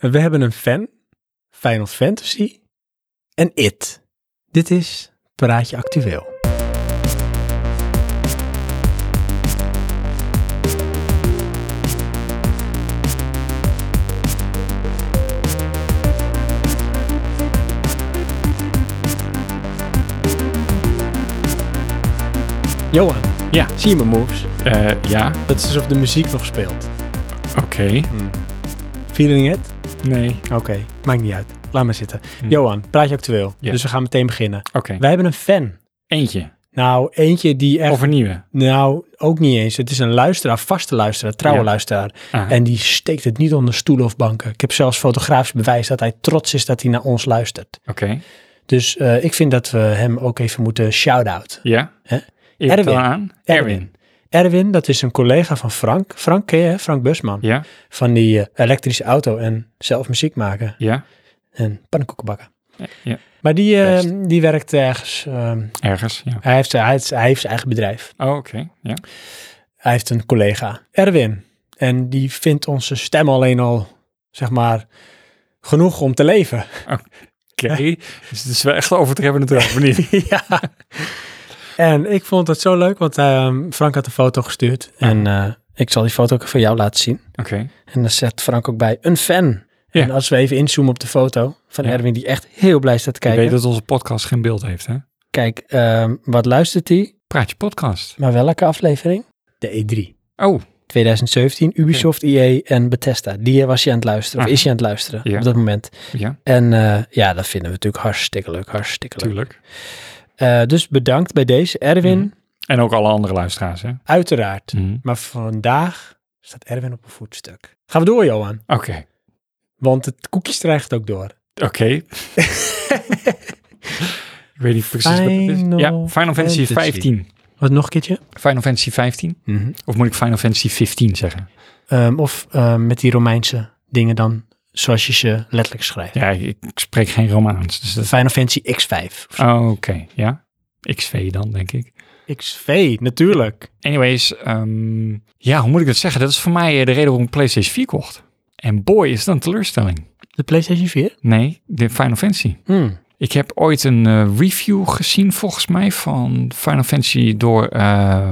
We hebben een fan, Final Fantasy en It. Dit is Praatje Actueel. Johan, Ja. zie je mijn moves? Eh, ja, Dat is alsof de muziek nog speelt. oké. Feeling it? Nee. Oké, maakt niet uit. Laat maar zitten. Hm. Johan, praatje actueel. Ja. Dus we gaan meteen beginnen. Oké. Wij hebben een fan. Eentje. Nou, eentje die echt... Of een nieuwe. Nou, ook niet eens. Het is een luisteraar, vaste luisteraar, trouwe Ja. luisteraar. Ah, En die steekt het niet onder stoelen of banken. Ik heb zelfs fotografisch bewijs dat hij trots is dat hij naar ons luistert. Oké. Dus eh, ik vind dat we hem ook even moeten shout-out. Ja. Hè? Je hebt het Erwin. al aan. Erwin. Erwin, dat is een collega van Frank. Frank ken je, hè? Frank Busman. Ja. Van die eh, elektrische auto en zelf muziek maken Ja. en pannenkoeken bakken. ja. Maar die, eh, Best. die werkt ergens... ehm, Ergens. Ja. Hij heeft, hij, heeft, hij heeft zijn eigen bedrijf. Oh, oké. Ja. Hij heeft een collega, Erwin. En die vindt onze stem alleen al, zeg maar, genoeg om te leven. Oké. Dus het is wel echt overdreven natuurlijk, of niet? ja. En ik vond het zo leuk, want ehm, Frank had een foto gestuurd. En eh, ik zal die foto ook voor jou laten zien. Oké. En dan zet Frank ook bij, een fan. Ja. En als we even inzoomen op de foto van Ja. Erwin, die echt heel blij staat te Je kijken. weet dat onze podcast geen beeld heeft, hè? Kijk, ehm, wat luistert hij? Praat je podcast. Maar welke aflevering? De E3. Oh, 2017, Ubisoft, EA en Bethesda. Die was je aan het luisteren, of Ah. is je aan het luisteren Ja. op dat moment. ja. En eh, ja, dat vinden we natuurlijk hartstikke leuk, hartstikke leuk. Tuurlijk. Eh, dus bedankt bij deze Erwin, Mhm. En ook alle andere luisteraars, hè? uiteraard. Mhm. Maar vandaag staat Erwin op een voetstuk. Gaan we door, Johan, Oké. want het koekjes dreigt ook door. Oké. Ik weet niet precies wat het Final is. Ja, Final Fantasy Fantasy. 15. Wat nog een keertje? Final Fantasy 15? Mhm. Of moet ik Final Fantasy 15 zeggen? Ehm, of ehm, met die Romeinse dingen dan, zoals je ze letterlijk schrijft. Ja, ik, ik spreek geen Romaans. Dus dat... Final Fantasy X5. of zo. Oh, oké. Ja. XV dan, denk ik. XV, natuurlijk. Anyways, ehm, ja, hoe moet ik dat zeggen? Dat is voor mij eh, de reden waarom ik PlayStation 4 kocht. En boy, is dat een teleurstelling. De PlayStation 4? Nee, de Final Fantasy. Hmm. Ik heb ooit een eh, review gezien, volgens mij, van Final Fantasy door eh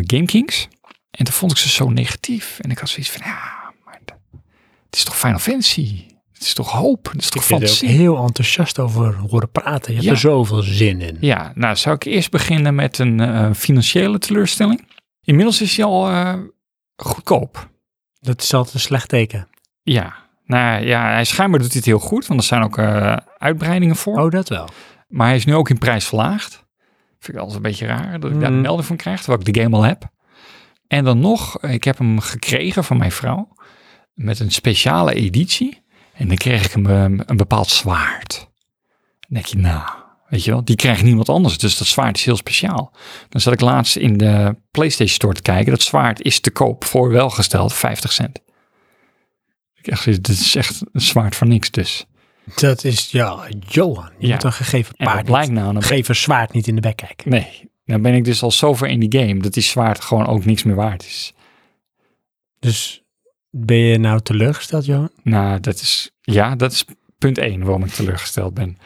GameKings. En toen vond ik ze zo negatief. En ik had zoiets van, ja, maar dat- het is toch Final Fantasy? Het is toch hoop? Het is toch Ik vind er ook fantasie? heel enthousiast over horen praten. Je hebt Ja. er zoveel zin in. Ja, nou zou ik eerst beginnen met een eh, financiële teleurstelling. Inmiddels is hij al eh, goedkoop. Dat is altijd een slecht teken. Ja, nou ja, hij schijnbaar doet hij het heel goed, want er zijn ook eh, uitbreidingen voor. Oh, dat wel. Maar hij is nu ook in prijs verlaagd. Vind ik altijd een beetje raar dat ik daar Mm. een melding van krijg, terwijl ik de game al heb. En dan nog, ik heb hem gekregen van mijn vrouw met een speciale editie. En dan kreeg ik hem eh, een bepaald zwaard. Dan denk je, nou, weet je wel, die krijgt niemand anders. Dus dat zwaard is heel speciaal. Dan zat ik laatst in de PlayStation Store te kijken. Dat zwaard is te koop voor welgesteld 50 cent. Ik echt, dit is echt een zwaard voor niks dus. Dat is, ja, Johan. Je Ja. moet een gegeven En dat paard blijkt niet, nou een gegeven zwaard niet in de bek kijken. Nee, dan ben ik dus al zo ver in die game dat die zwaard gewoon ook niks meer waard is. Dus ben je nou teleurgesteld, Johan? Nou, dat is, ja, dat is punt 1 waarom ik teleurgesteld ben.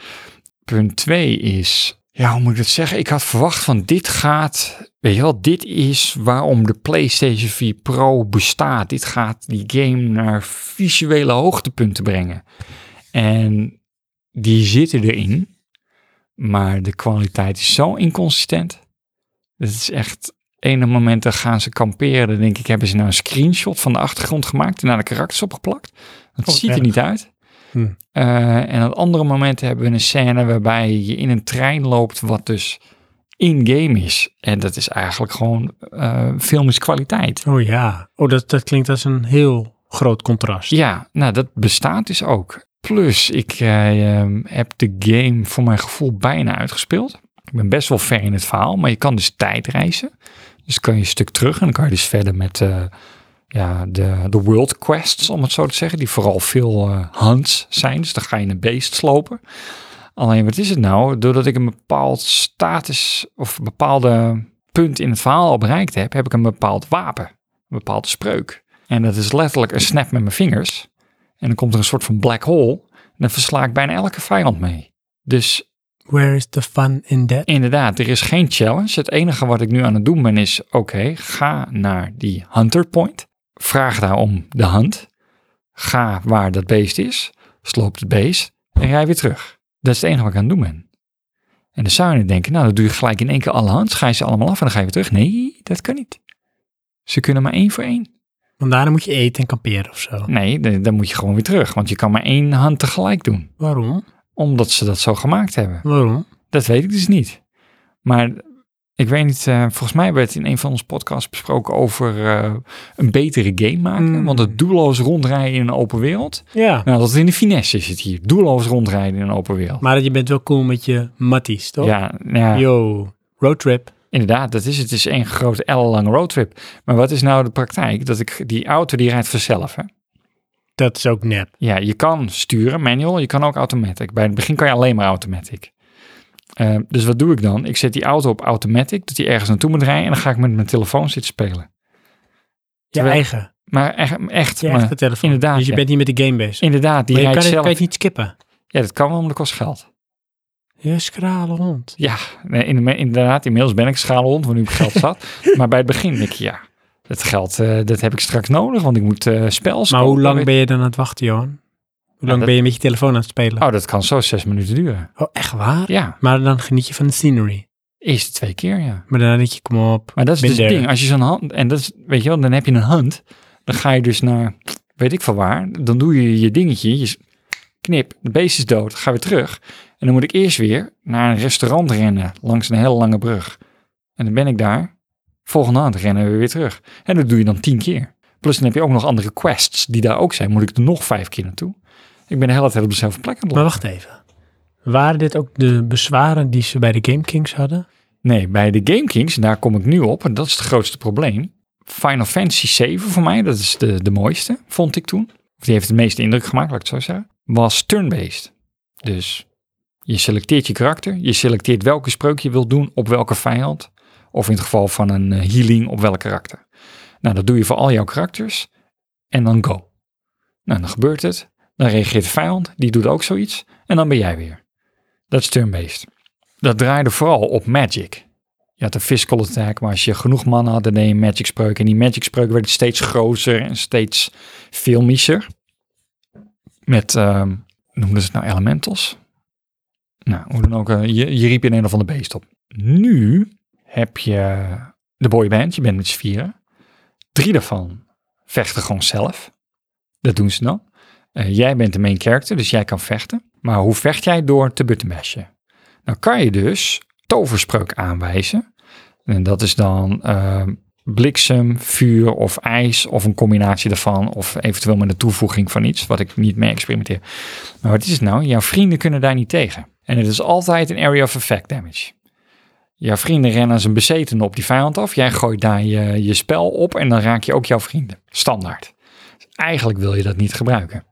Punt 2 is, ja, hoe moet ik dat zeggen? Ik had verwacht van dit gaat, weet je wel, dit is waarom de PlayStation 4 Pro bestaat. Dit gaat die game naar visuele hoogtepunten brengen. En die zitten erin, maar de kwaliteit is zo inconsistent. Het is echt, ene moment dan gaan ze kamperen, dan denk ik, hebben ze nou een screenshot van de achtergrond gemaakt en daar de karakters opgeplakt? Dat Oh, ziet erg. er niet uit. Hmm. Eh, en op andere momenten hebben we een scène waarbij je in een trein loopt, wat dus in-game is. En dat is eigenlijk gewoon eh filmische kwaliteit. Oh ja. Oh, dat, dat klinkt als een heel groot contrast. Ja, nou dat bestaat dus ook. Plus, ik eh, ehm, heb de game voor mijn gevoel bijna uitgespeeld. Ik ben best wel ver in het verhaal, maar je kan dus tijdreizen. Dus kan je een stuk terug en dan kan je dus verder met eh, ja, de, de world quests, om het zo te zeggen. Die vooral veel eh, hunts zijn, dus dan ga je een beest slopen. Alleen, wat is het nou? Doordat ik een bepaald status of een bepaalde punt in het verhaal al bereikt heb, heb ik een bepaald wapen, een bepaalde spreuk. En dat is letterlijk een snap met mijn vingers. En dan komt er een soort van black hole. En dan versla ik bijna elke vijand mee. Dus Where is the fun in that? Inderdaad, er is geen challenge. Het enige wat ik nu aan het doen ben is, oké, ga naar die hunter point. Vraag daar om de hunt. Ga waar dat beest is. Sloop het beest en rij weer terug. Dat is het enige wat ik aan het doen ben. En dan zou je nu denken, nou, dat doe je gelijk in één keer alle hunts. Ga je ze allemaal af en dan ga je weer terug. Nee, dat kan niet. Ze kunnen maar één voor één. Want daarna moet je eten en kamperen of zo. Nee, d- dan moet je gewoon weer terug. Want je kan maar één hand tegelijk doen. Waarom? Omdat ze dat zo gemaakt hebben. Waarom? Dat weet ik dus niet. Maar ik weet niet, eh, volgens mij werd in een van onze podcasts besproken over eh, een betere game maken. Mm. Want het doelloos rondrijden in een open wereld. Ja. Nou, dat is in de finesse is het hier. Doelloos rondrijden in een open wereld. Maar je bent wel cool met je matties, toch? Ja, nou ja, Yo, roadtrip. inderdaad, dat is het. Het is één grote ellenlange roadtrip. Maar wat is nou de praktijk? Dat ik die auto die rijdt vanzelf. Hè? Dat is ook nep. Ja, je kan sturen, manual, je kan ook automatic. Bij het begin kan je alleen maar automatic. Eh, dus wat doe ik dan? Ik zet die auto op automatic, dat die ergens naartoe moet rijden en dan ga ik met mijn telefoon zitten spelen. Je Terwijl- eigen. Maar echt, echt, Je maar- eigen telefoon. inderdaad, Dus je ja. bent niet met de game bezig. inderdaad, die Maar je rijdt kan het, zelf. kan het niet skippen. Ja, dat kan wel, maar dat kost geld. Je schrale hond. Ja, nee, in- inderdaad, inmiddels ben ik schalenhond, want nu heb ik geld zat. maar bij het begin denk ik, ja, dat geld, eh, dat heb ik straks nodig, want ik moet eh spels Maar kopen. hoe lang ben je dan aan het wachten, Johan? Hoe lang dat- ben je met je telefoon aan het spelen? Oh, dat kan zo zes minuten duren. Oh, echt waar? Ja, Maar dan geniet je van de scenery. eerst twee keer, ja. Maar daarna denk je, kom op. Maar dat is Been dus het there. ding. Als je zo'n hand, en dat is, weet je wel, dan heb je een hand. Dan ga je dus naar, weet ik van waar. Dan doe je je dingetje. Je s- knip, de beest is dood. Ga weer terug. En dan moet ik eerst weer naar een restaurant rennen. Langs een hele lange brug. En dan ben ik daar. Volgende hand rennen we weer terug. En dat doe je dan tien keer. Plus dan heb je ook nog andere quests die daar ook zijn. Moet ik er nog vijf keer naartoe? Ik ben de hele tijd op dezelfde plek aan het Maar lopen. wacht even. Waren dit ook de bezwaren die ze bij de Game Kings hadden? Nee, bij de Game Kings, en daar kom ik nu op, en dat is het grootste probleem. Final Fantasy 7 voor mij, dat is de, de mooiste, vond ik toen. Of die heeft het meeste indruk gemaakt, laat ik het zo zeggen. Was turn-based. Dus je selecteert je karakter, je selecteert welke spreuk je wilt doen op welke vijand. Of in het geval van een eh, healing op welk karakter. Nou, dat doe je voor al jouw karakters. En dan go. Nou, dan gebeurt het. Dan reageert de vijand, die doet ook zoiets. En dan ben jij weer. Dat is turn-based. Dat draaide vooral op magic. Je had een fiscal attack, maar als je genoeg mannen had, dan deed je een magic spreuk. En die magic spreuk werd steeds groter en steeds filmischer. Met, ehm noemden ze het nou elementals? Nou, hoe dan ook, eh, je, je riep in een of ander beest op. Nu heb je de boyband, je bent met z'n vieren. Drie daarvan vechten gewoon zelf. Dat doen ze dan. Eh, jij bent de main character, dus jij kan vechten. Maar hoe vecht jij? Door te buttonbashen. Dan kan je dus toverspreuk aanwijzen. En dat is dan eh, bliksem, vuur of ijs of een combinatie daarvan. Of eventueel met een toevoeging van iets wat ik niet mee experimenteer. Maar wat is het nou? Jouw vrienden kunnen daar niet tegen. En het is altijd een area of effect damage. Jouw vrienden rennen als een bezetene op die vijand af. Jij gooit daar je, je spel op en dan raak je ook jouw vrienden. Standaard. Dus eigenlijk wil je dat niet gebruiken.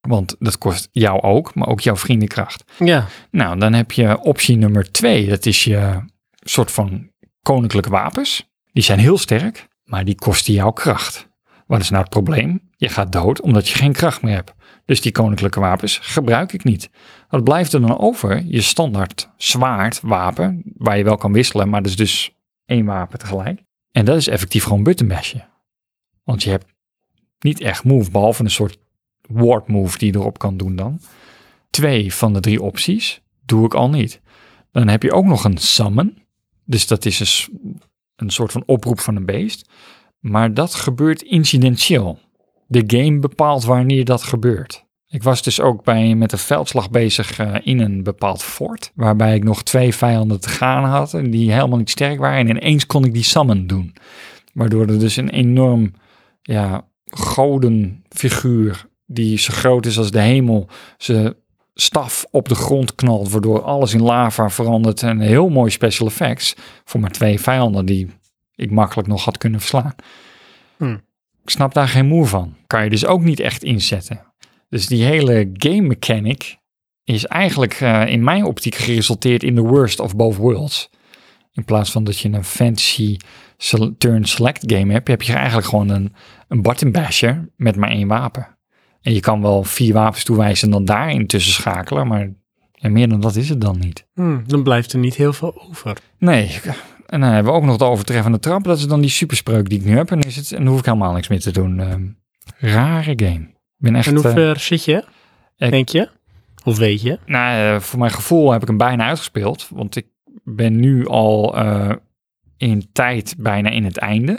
Want dat kost jou ook, maar ook jouw vrienden kracht. Ja. Nou, dan heb je optie nummer twee. Dat is je soort van koninklijke wapens. Die zijn heel sterk, maar die kosten jouw kracht. Wat is nou het probleem? Je gaat dood omdat je geen kracht meer hebt. Dus die koninklijke wapens gebruik ik niet. Wat blijft er dan over? Je standaard zwaard wapen, waar je wel kan wisselen, maar dat is dus één wapen tegelijk. En dat is effectief gewoon buttonbasje. Want je hebt niet echt move, behalve een soort ward move die je erop kan doen dan. Twee van de drie opties doe ik al niet. Dan heb je ook nog een summon. Dus dat is een, s- een soort van oproep van een beest. Maar dat gebeurt incidentieel. De game bepaalt wanneer dat gebeurt. Ik was dus ook bij, met een veldslag bezig eh, in een bepaald fort. Waarbij ik nog twee vijanden te gaan had. en Die helemaal niet sterk waren. En ineens kon ik die summon doen. Waardoor er dus een enorm ja, godenfiguur. Die zo groot is als de hemel. Ze staf op de grond knalt, waardoor alles in lava verandert. En een heel mooi special effects voor maar twee vijanden die ik makkelijk nog had kunnen verslaan. Hmm. Ik snap daar geen moer van. Kan je dus ook niet echt inzetten. Dus die hele game mechanic is eigenlijk eh, in mijn optiek geresulteerd in the worst of both worlds. In plaats van dat je een fancy sele- turn select game hebt, heb je eigenlijk gewoon een, een button basher met maar één wapen. En je kan wel vier wapens toewijzen en dan daarin tussen schakelen, maar ja, meer dan dat is het dan niet. Hm, dan blijft er niet heel veel over. Nee, en dan hebben we ook nog de overtreffende trap. Dat is dan die superspreuk die ik nu heb. En, is het, en dan hoef ik helemaal niks meer te doen. Ehm, rare game. Ik ben echt... en hoe eh, ver zit je? ik- Denk je? Of weet je? Nou, eh, voor mijn gevoel heb ik hem bijna uitgespeeld. Want ik ben nu al eh, in tijd bijna in het einde.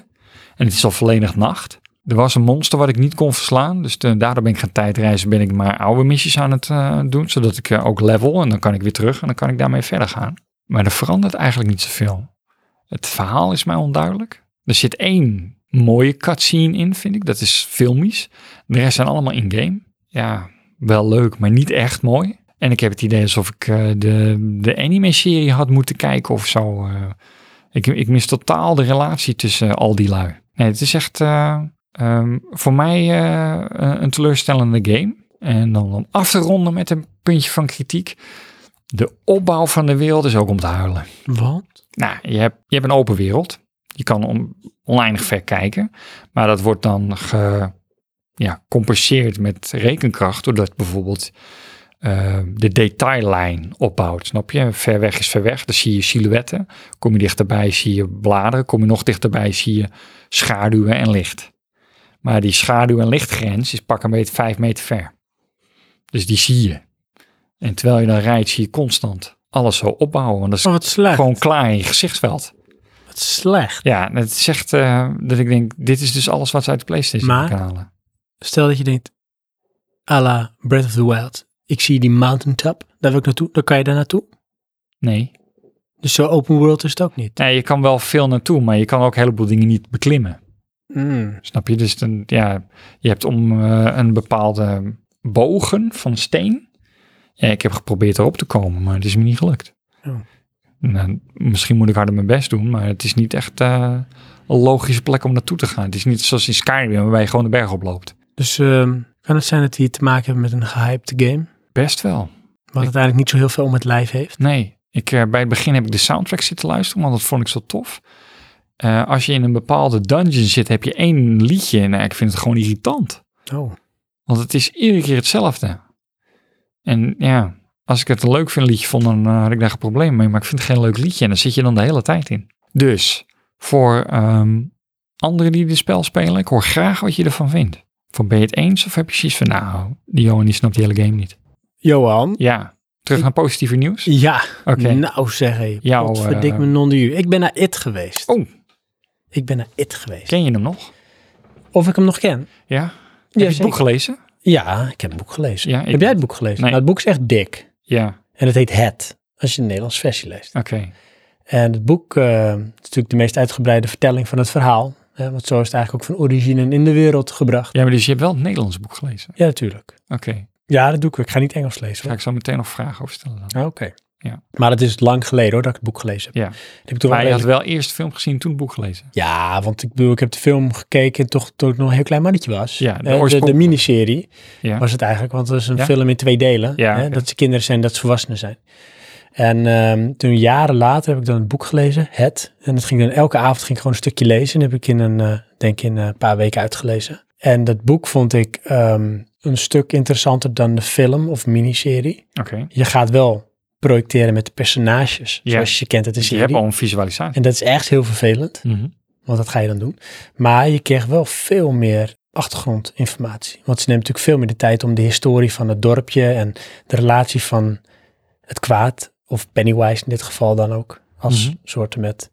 En het is al volledig nacht. Er was een monster wat ik niet kon verslaan. Dus eh, daardoor ben ik gaan tijdreizen. Ben ik maar oude missies aan het eh, doen. Zodat ik eh, ook level. En dan kan ik weer terug. En dan kan ik daarmee verder gaan. Maar er verandert eigenlijk niet zoveel. Het verhaal is mij onduidelijk. Er zit één mooie cutscene in, vind ik. Dat is filmisch. De rest zijn allemaal in-game. Ja, wel leuk, maar niet echt mooi. En ik heb het idee alsof ik eh, de, de anime-serie had moeten kijken of zo. eh. ik, ik mis totaal de relatie tussen eh, al die lui. Nee, het is echt eh, ehm, voor mij eh, een teleurstellende game. En dan, dan af te ronden met een puntje van kritiek. De opbouw van de wereld is ook om te huilen. Want? Nou, je hebt, je hebt een open wereld. Je kan on- oneindig ver kijken. Maar dat wordt dan gecompenseerd ja, compenseerd met rekenkracht. Doordat bijvoorbeeld eh, de detaillijn opbouwt. Snap je? Ver weg is ver weg. Dan zie je silhouetten. Kom je dichterbij, zie je bladeren. Kom je nog dichterbij, zie je schaduwen en licht. Maar die schaduw- en lichtgrens is pak een beetje vijf meter ver. Dus die zie je. En terwijl je dan rijdt, zie je constant alles zo opbouwen. Want dat is Oh, wat slecht. gewoon klaar in je gezichtsveld. Wat slecht. Ja, het is echt eh, dat ik denk, dit is dus alles wat ze uit de PlayStation Maar- kunnen halen. Stel dat je denkt, à la Breath of the Wild. Ik zie die mountaintop. Daar wil ik naartoe. Dan kan je daar naartoe. Nee. Dus zo open world is het ook niet. nee, je kan wel veel naartoe, maar je kan ook een heleboel dingen niet beklimmen. Mm. Snap je? Dus dan, ja, je hebt om eh, een bepaalde bogen van steen. Ja, ik heb geprobeerd erop te komen, maar het is me niet gelukt. Oh. Nou, misschien moet ik harder mijn best doen, maar het is niet echt eh, een logische plek om naartoe te gaan. Het is niet zoals in Skyrim, waarbij je gewoon de berg oploopt. Dus ehm, kan het zijn dat die te maken hebben met een gehypte game? Best wel. Wat uiteindelijk niet zo heel veel om het lijf heeft. Nee, ik, eh, bij het begin heb ik de soundtrack zitten luisteren, want dat vond ik zo tof. Eh, als je in een bepaalde dungeon zit, heb je één liedje en eh, ik vind het gewoon irritant. Oh. Want het is iedere keer hetzelfde. En ja, als ik het een leuk vind, liedje vond, dan eh, had ik daar geen probleem mee. Maar ik vind het geen leuk liedje en daar zit je dan de hele tijd in. Dus, voor ehm, anderen die dit spel spelen, ik hoor graag wat je ervan vindt. Van ben je het eens of heb je zoiets van, nou, die Johan die snapt die hele game niet. Johan. Ja, terug naar positieve nieuws. Ja, Oké. nou zeg hé. Jouw, Wat verdik eh, me non de u. Ik ben naar It geweest. Oh. Ik ben naar It geweest. Ken je hem nog? Of ik hem nog ken? Ja? Ja, Heb je het zeker. boek gelezen? Ja, ik heb het boek gelezen. Ja, ik- heb jij het boek gelezen? Nee. Nou, het boek is echt dik. Ja, En het heet Het, als je de Nederlands versie leest. oké. En het boek eh, is natuurlijk de meest uitgebreide vertelling van het verhaal. Hè, want zo is het eigenlijk ook van origine in de wereld gebracht. Ja, maar dus je hebt wel het Nederlands boek gelezen. Ja, natuurlijk. Oké, Ja, dat doe ik. wel. Ik ga niet Engels lezen. ga hoor. ik zo meteen nog vragen over stellen dan. Ah, Oké. Ja. Maar het is lang geleden hoor, dat ik het boek gelezen heb. Ja. Dat heb ik toen wel Maar je had redelijk- wel eerst de film gezien, toen het boek gelezen. Ja, want ik bedoel, ik heb de film gekeken toch toen ik nog een heel klein mannetje was. Ja, de Hè, de, de, oorspronkelijke. miniserie Ja. was het eigenlijk, want het is een Ja? film in twee delen. Ja, hè, oké. Dat ze kinderen zijn, dat ze volwassenen zijn. En ehm, toen jaren later heb ik dan het boek gelezen, Het. En dat ging dan elke avond ging ik gewoon een stukje lezen. En dat heb ik in een, eh, denk in een paar weken uitgelezen. En dat boek vond ik ehm, een stuk interessanter dan de film of miniserie. Oké. Je gaat wel projecteren met de personages, Ja. zoals je ze kent uit de Dus je hebt serie. al een visualisatie. En dat is echt heel vervelend. Mhm. Want dat ga je dan doen. Maar je krijgt wel veel meer achtergrondinformatie. Want ze neemt natuurlijk veel meer de tijd om de historie van het dorpje en de relatie van het kwaad, of Pennywise in dit geval dan ook, als Mhm. soorten met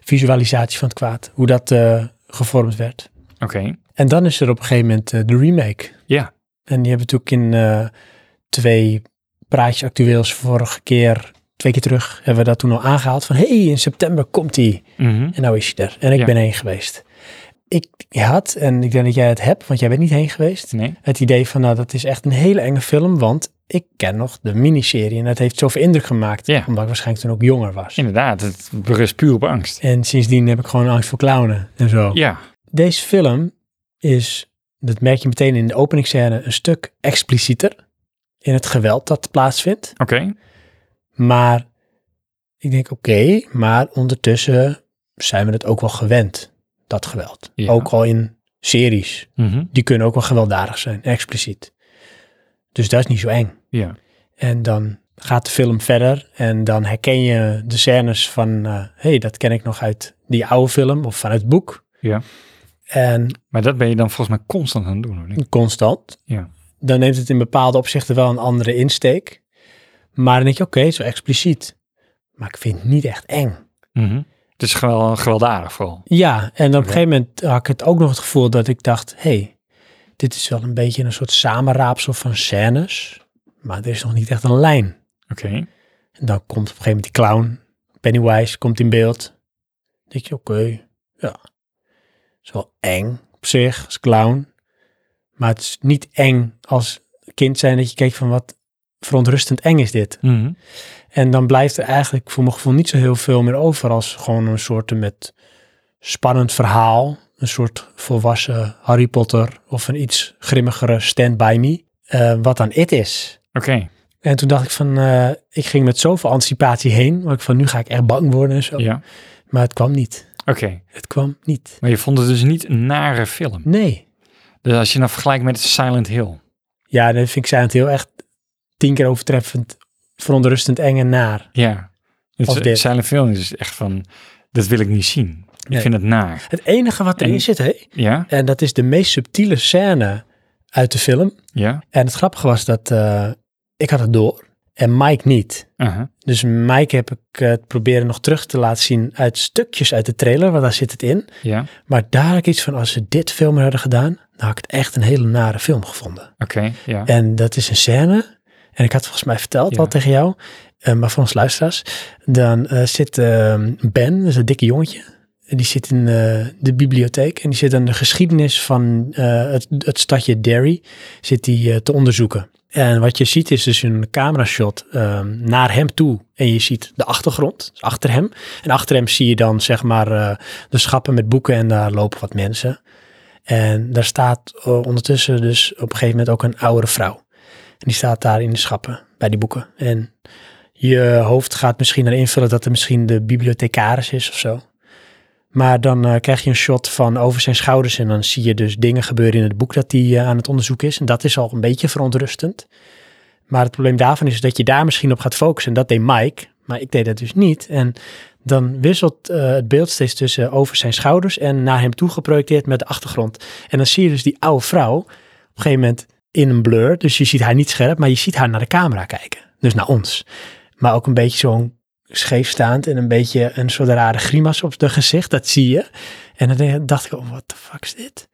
visualisatie van het kwaad, hoe dat eh, gevormd werd. Oké, En dan is er op een gegeven moment eh, de remake. Ja. En die hebben we natuurlijk in eh, twee praatjes actueels vorige keer, twee keer terug, hebben we dat toen al aangehaald van hey, in september komt die. Mhm. En nou is hij er. En ik Ja. ben heen geweest. Ik had, en ik denk dat jij het hebt, want jij bent niet heen geweest, nee. het idee van nou dat is echt een hele enge film, want ik ken nog de miniserie en dat heeft zoveel indruk gemaakt, Ja. omdat ik waarschijnlijk toen ook jonger was. Inderdaad, het berust puur op angst. En sindsdien heb ik gewoon angst voor clownen en zo. Ja, Deze film is, dat merk je meteen in de openingsscène, een stuk explicieter in het geweld dat plaatsvindt. oké. Maar ik denk, oké, maar ondertussen zijn we het ook wel gewend, dat geweld. Ja. Ook al in series, Mhm. die kunnen ook wel gewelddadig zijn, expliciet. Dus dat is niet zo eng. Ja. En dan gaat de film verder en dan herken je de scènes van, eh hey, dat ken ik nog uit die oude film of vanuit het boek. Ja. En Maar dat ben je dan volgens mij constant aan het doen. Hoor. Ik- constant. Ja. Dan neemt het in bepaalde opzichten wel een andere insteek. Maar dan denk je, oké, zo expliciet. Maar ik vind het niet echt eng. Mhm. Het is gewel, gewelddadig vooral. Ja, en op Oké. een gegeven moment had ik het ook nog het gevoel dat ik dacht, hé, hey, dit is wel een beetje een soort samenraapsel van scènes, maar er is nog niet echt een lijn. Oké. En dan komt op een gegeven moment die clown, Pennywise, komt in beeld. Dan denk je, oké, ja. is wel eng op zich, als clown. Maar het is niet eng als kind zijn dat je kijkt van wat verontrustend eng is dit. Mhm. En dan blijft er eigenlijk voor mijn gevoel niet zo heel veel meer over als gewoon een soort met spannend verhaal. Een soort volwassen Harry Potter of een iets grimmigere Stand By Me. eh, wat dan It is. Oké. En toen dacht ik van, eh, ik ging met zoveel anticipatie heen. Want ik van, nu ga ik echt bang worden en zo. Ja. Maar het kwam niet. Oké. Het kwam niet. Maar je vond het dus niet een nare film. Nee. Dus als je nou vergelijkt met Silent Hill. Ja, dan vind ik het heel echt tien keer overtreffend, verontrustend eng en naar. Ja. Als dit. Dus Silent Hill is echt van, dat wil ik niet zien. Ik Nee. vind het naar. Het enige wat erin En- zit, hè, Ja? en dat is de meest subtiele scène uit de film. Ja? En het grappige was dat eh, ik had het door en Mike niet. Aha. Dus Mike heb ik eh, het proberen nog terug te laten zien uit stukjes uit de trailer, want daar zit het in. Ja? Maar daar had ik iets van, als ze dit veel meer hadden gedaan, dan had ik het echt een hele nare film gevonden. Oké. Ja. En dat is een scène, en ik had volgens mij verteld Ja. al tegen jou, eh, maar voor ons luisteraars, dan eh, zit eh, Ben, dat is een dikke jongetje, en die zit in eh, de bibliotheek en die zit aan de geschiedenis van eh, het, het stadje Derry zit die, eh, te onderzoeken. En wat je ziet is dus een camerashot ehm, naar hem toe. En je ziet de achtergrond, dus achter hem. En achter hem zie je dan zeg maar eh, de schappen met boeken en daar lopen wat mensen. En daar staat eh, ondertussen dus op een gegeven moment ook een oudere vrouw. En die staat daar in de schappen bij die boeken. En je hoofd gaat misschien dan invullen dat er misschien de bibliothecaris is of zo. Maar dan eh, krijg je een shot van over zijn schouders en dan zie je dus dingen gebeuren in het boek dat hij eh, aan het onderzoek is. En dat is al een beetje verontrustend. Maar het probleem daarvan is dat je daar misschien op gaat focussen. En dat deed Mike, maar ik deed dat dus niet. En dan wisselt eh, het beeld steeds tussen over zijn schouders en naar hem toe geprojecteerd met de achtergrond. En dan zie je dus die oude vrouw op een gegeven moment in een blur. Dus je ziet haar niet scherp, maar je ziet haar naar de camera kijken. Dus naar ons. Maar ook een beetje zo'n scheefstaand en een beetje een soort rare grimas op de gezicht. Dat zie je. En dan dacht ik, oh, what the fuck is dit?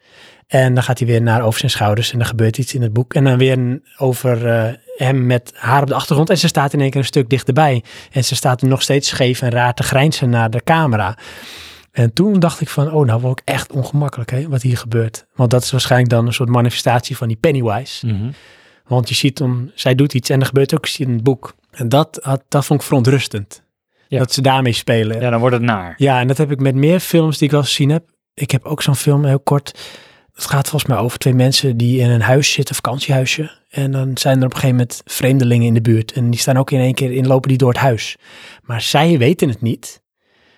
En dan gaat hij weer naar over zijn schouders en er gebeurt iets in het boek. En dan weer een- over eh, hem met haar op de achtergrond. En ze staat in één keer een stuk dichterbij. En ze staat nog steeds scheef en raar te grijnzen naar de camera. En toen dacht ik van, oh, nou word ik echt ongemakkelijk hè, wat hier gebeurt. Want dat is waarschijnlijk dan een soort manifestatie van die Pennywise. Mhm. Want je ziet, om, zij doet iets en er gebeurt ook iets in het boek. En dat, had, dat vond ik verontrustend. Ja. Dat ze daarmee spelen. Ja. Ja, dan wordt het naar. en dat heb ik met meer films die ik wel eens gezien heb. Ik heb ook zo'n film heel kort. Het gaat volgens mij over twee mensen die in een huis zitten, vakantiehuisje. En dan zijn er op een gegeven moment vreemdelingen in de buurt. En die staan ook in één keer in, lopen die door het huis. Maar zij weten het niet.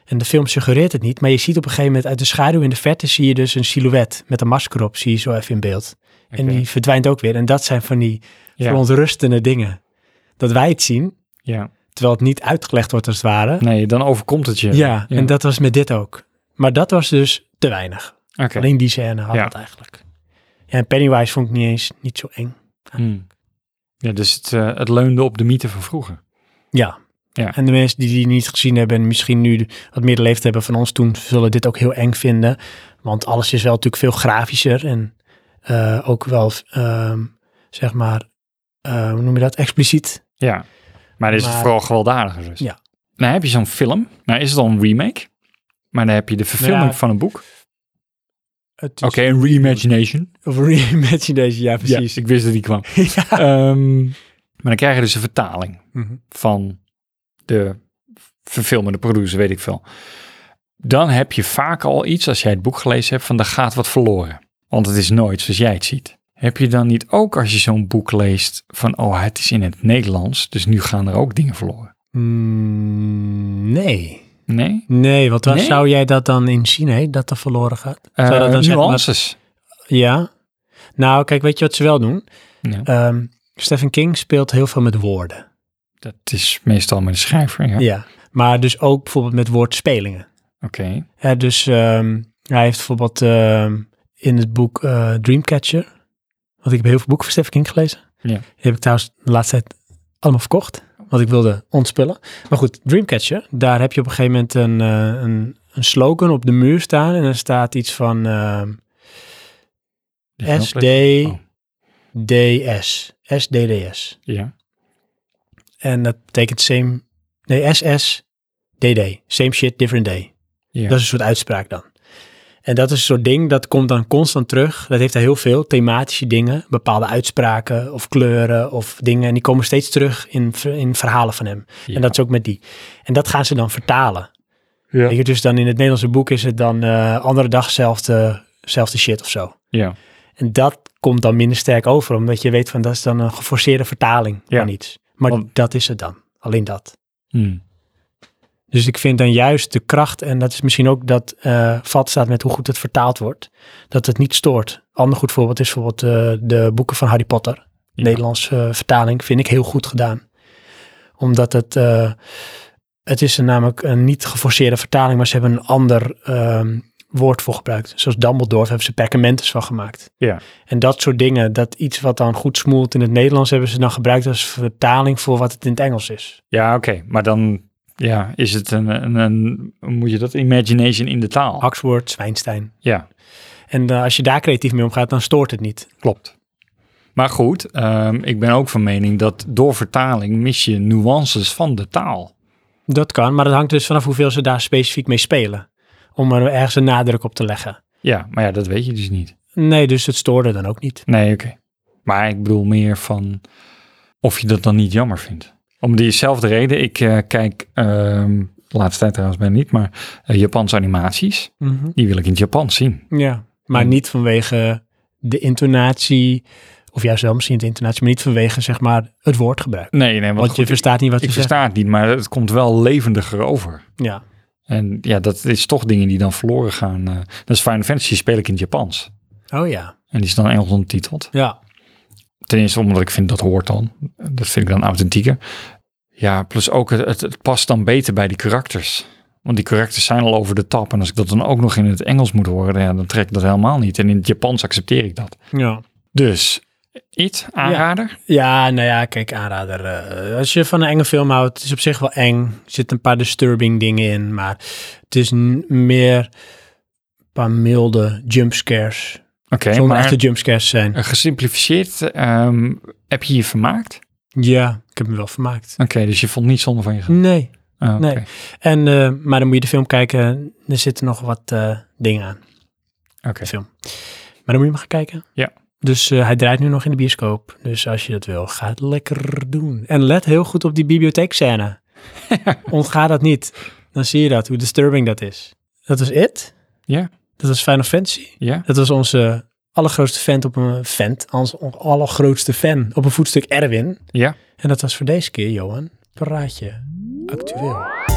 En de film suggereert het niet. Maar je ziet op een gegeven moment uit de schaduw in de verte zie je dus een silhouet met een masker op. Zie je zo even in beeld. Oké. En die verdwijnt ook weer. En dat zijn van die ja. verontrustende dingen. Dat wij het zien, ja. terwijl het niet uitgelegd wordt als het ware. Nee, dan overkomt het je. ja, Ja. en dat was met dit ook. Maar dat was dus te weinig. Oké. Alleen die scène had Ja. het eigenlijk. Ja, en Pennywise vond ik niet eens niet zo eng. Hm. Ja, dus het, eh, het leunde op de mythe van vroeger. Ja. Ja. En de mensen die die niet gezien hebben en misschien nu de- wat meer de leeftijd hebben van ons toen, zullen dit ook heel eng vinden. Want alles is wel natuurlijk veel grafischer en eh, ook wel, ehm, zeg maar, eh, hoe noem je dat, expliciet. Ja. Maar dan is het Maar- vooral gewelddadiger dus. Ja. Nou heb je zo'n film. Nou is het al een remake. Maar dan heb je de verfilming Nou ja, van een boek. Het is- Oké, een reimagination. Of reimagination, ja precies. Ja, ik wist dat die kwam. Ja. Ehm, maar dan krijg je dus een vertaling Mhm. van de verfilmer, de producer, weet ik veel. Dan heb je vaak al iets, als jij het boek gelezen hebt, van er gaat wat verloren. Want het is nooit zoals jij het ziet. Heb je dan niet ook als je zo'n boek leest van, oh, het is in het Nederlands, dus nu gaan er ook dingen verloren? Mm, nee. Nee? Nee, want waar Nee? zou jij dat dan in zien, hè? Dat er verloren gaat? Zou Eh, dat dan zeg maar- nuances. Ja. Nou, kijk, weet je wat ze wel doen? Ja. Ehm, Stephen King speelt heel veel met woorden. Dat is meestal met de schrijver, ja. Ja. Maar dus ook bijvoorbeeld met woordspelingen. Oké. Hè, dus ehm, hij heeft bijvoorbeeld ehm, in het boek eh, Dreamcatcher, want ik heb heel veel boeken van Stephen King gelezen. Ja. Die heb ik trouwens de laatste tijd allemaal verkocht, want ik wilde ontspullen. Maar goed, Dreamcatcher, daar heb je op een gegeven moment een, eh, een, een slogan op de muur staan en er staat iets van ehm, Die knop ligt- Oh. SDDS. SDDS. Ja. En dat betekent same, nee, SS, DD. Same shit, different day. Ja. Dat is een soort uitspraak dan. En dat is een soort ding, dat komt dan constant terug. Dat heeft hij heel veel, thematische dingen, bepaalde uitspraken of kleuren of dingen. En die komen steeds terug in, ver- in verhalen van hem. Ja. En dat is ook met die. En dat gaan ze dan vertalen. Ja. Weet je, dus dan in het Nederlandse boek is het dan eh, andere dag zelfde, zelfde shit of zo. ja. En dat komt dan minder sterk over, omdat je weet van dat is dan een geforceerde vertaling Ja. van iets. Maar Want- dat is het dan, alleen dat. Hm. Dus ik vind dan juist de kracht, en dat is misschien ook dat eh vat staat met hoe goed het vertaald wordt, dat het niet stoort. Ander goed voorbeeld is bijvoorbeeld eh, de boeken van Harry Potter. Ja. Nederlandse eh, vertaling vind ik heel goed gedaan. Omdat het, eh, het is een, namelijk een niet geforceerde vertaling, maar ze hebben een ander ehm, woord voor gebruikt. Zoals Dumbledore daar hebben ze perkamentes van gemaakt. Ja. En dat soort dingen, dat iets wat dan goed smoelt in het Nederlands, hebben ze dan gebruikt als vertaling voor wat het in het Engels is. Ja, oké. Maar dan ja, is het een, een, een, moet je dat imagination in de taal? Oxford, Zwijnstein. Ja, En eh, als je daar creatief mee omgaat, dan stoort het niet. klopt. Maar goed, ehm, ik ben ook van mening dat door vertaling mis je nuances van de taal. Dat kan, maar dat hangt dus vanaf hoeveel ze daar specifiek mee spelen. Om er ergens een nadruk op te leggen. Ja, maar ja, dat weet je dus niet. Nee, dus het stoorde dan ook niet. Nee, oké. Maar ik bedoel meer van of je dat dan niet jammer vindt. Om diezelfde reden, ik eh, kijk, ehm, de laatste tijd trouwens bijna niet, maar eh, Japanse animaties, die wil ik in het Japans zien. Ja, maar Hmm. niet vanwege de intonatie, of juist wel misschien de intonatie, maar niet vanwege zeg maar het woordgebruik. Nee, nee, Want want je goed, ik- verstaat niet wat ik je zegt. versta het niet, maar het komt wel levendiger over. Ja. En ja, dat is toch dingen die dan verloren gaan. eh. dat is Final Fantasy speel ik in het Japans. Oh ja. En die is dan Engels ondertiteld. Ja. Ten eerste omdat ik vind dat hoort dan. Dat vind ik dan authentieker. Ja, plus ook het, het, het past dan beter bij die karakters. Want die karakters zijn al over de tap. En als ik dat dan ook nog in het Engels moet horen, ja, dan trek ik dat helemaal niet. En in het Japans accepteer ik dat. Ja. Dus, It, aanrader. Ja, nou ja, kijk, aanrader. eh, als je van een enge film houdt, het is op zich wel eng. Er zitten een paar disturbing dingen in, maar het is n- meer een paar milde jumpscares. Oké, Zonder maar echte jumpscares zijn. eh, gesimplificeerd, ehm, heb je je vermaakt? Ja, ik heb me wel vermaakt. Oké, dus je vond niet zonde van je ge- Nee. Ah, oké. Nee. En, eh, maar dan moet je de film kijken. Er zitten nog wat eh, dingen aan. Oké. de film. Maar dan moet je maar gaan kijken. Ja. Dus eh, hij draait nu nog in de bioscoop. Dus als je dat wil, ga het lekker doen. En let heel goed op die bibliotheekscène. Ontga dat niet. Dan zie je dat, hoe disturbing dat is. Dat was It. Ja. Dat was Final Fantasy. Ja? Dat was onze allergrootste fan op een vent. Onze allergrootste fan op een voetstuk Erwin. Ja? En dat was voor deze keer, Johan. Praatje. Actueel.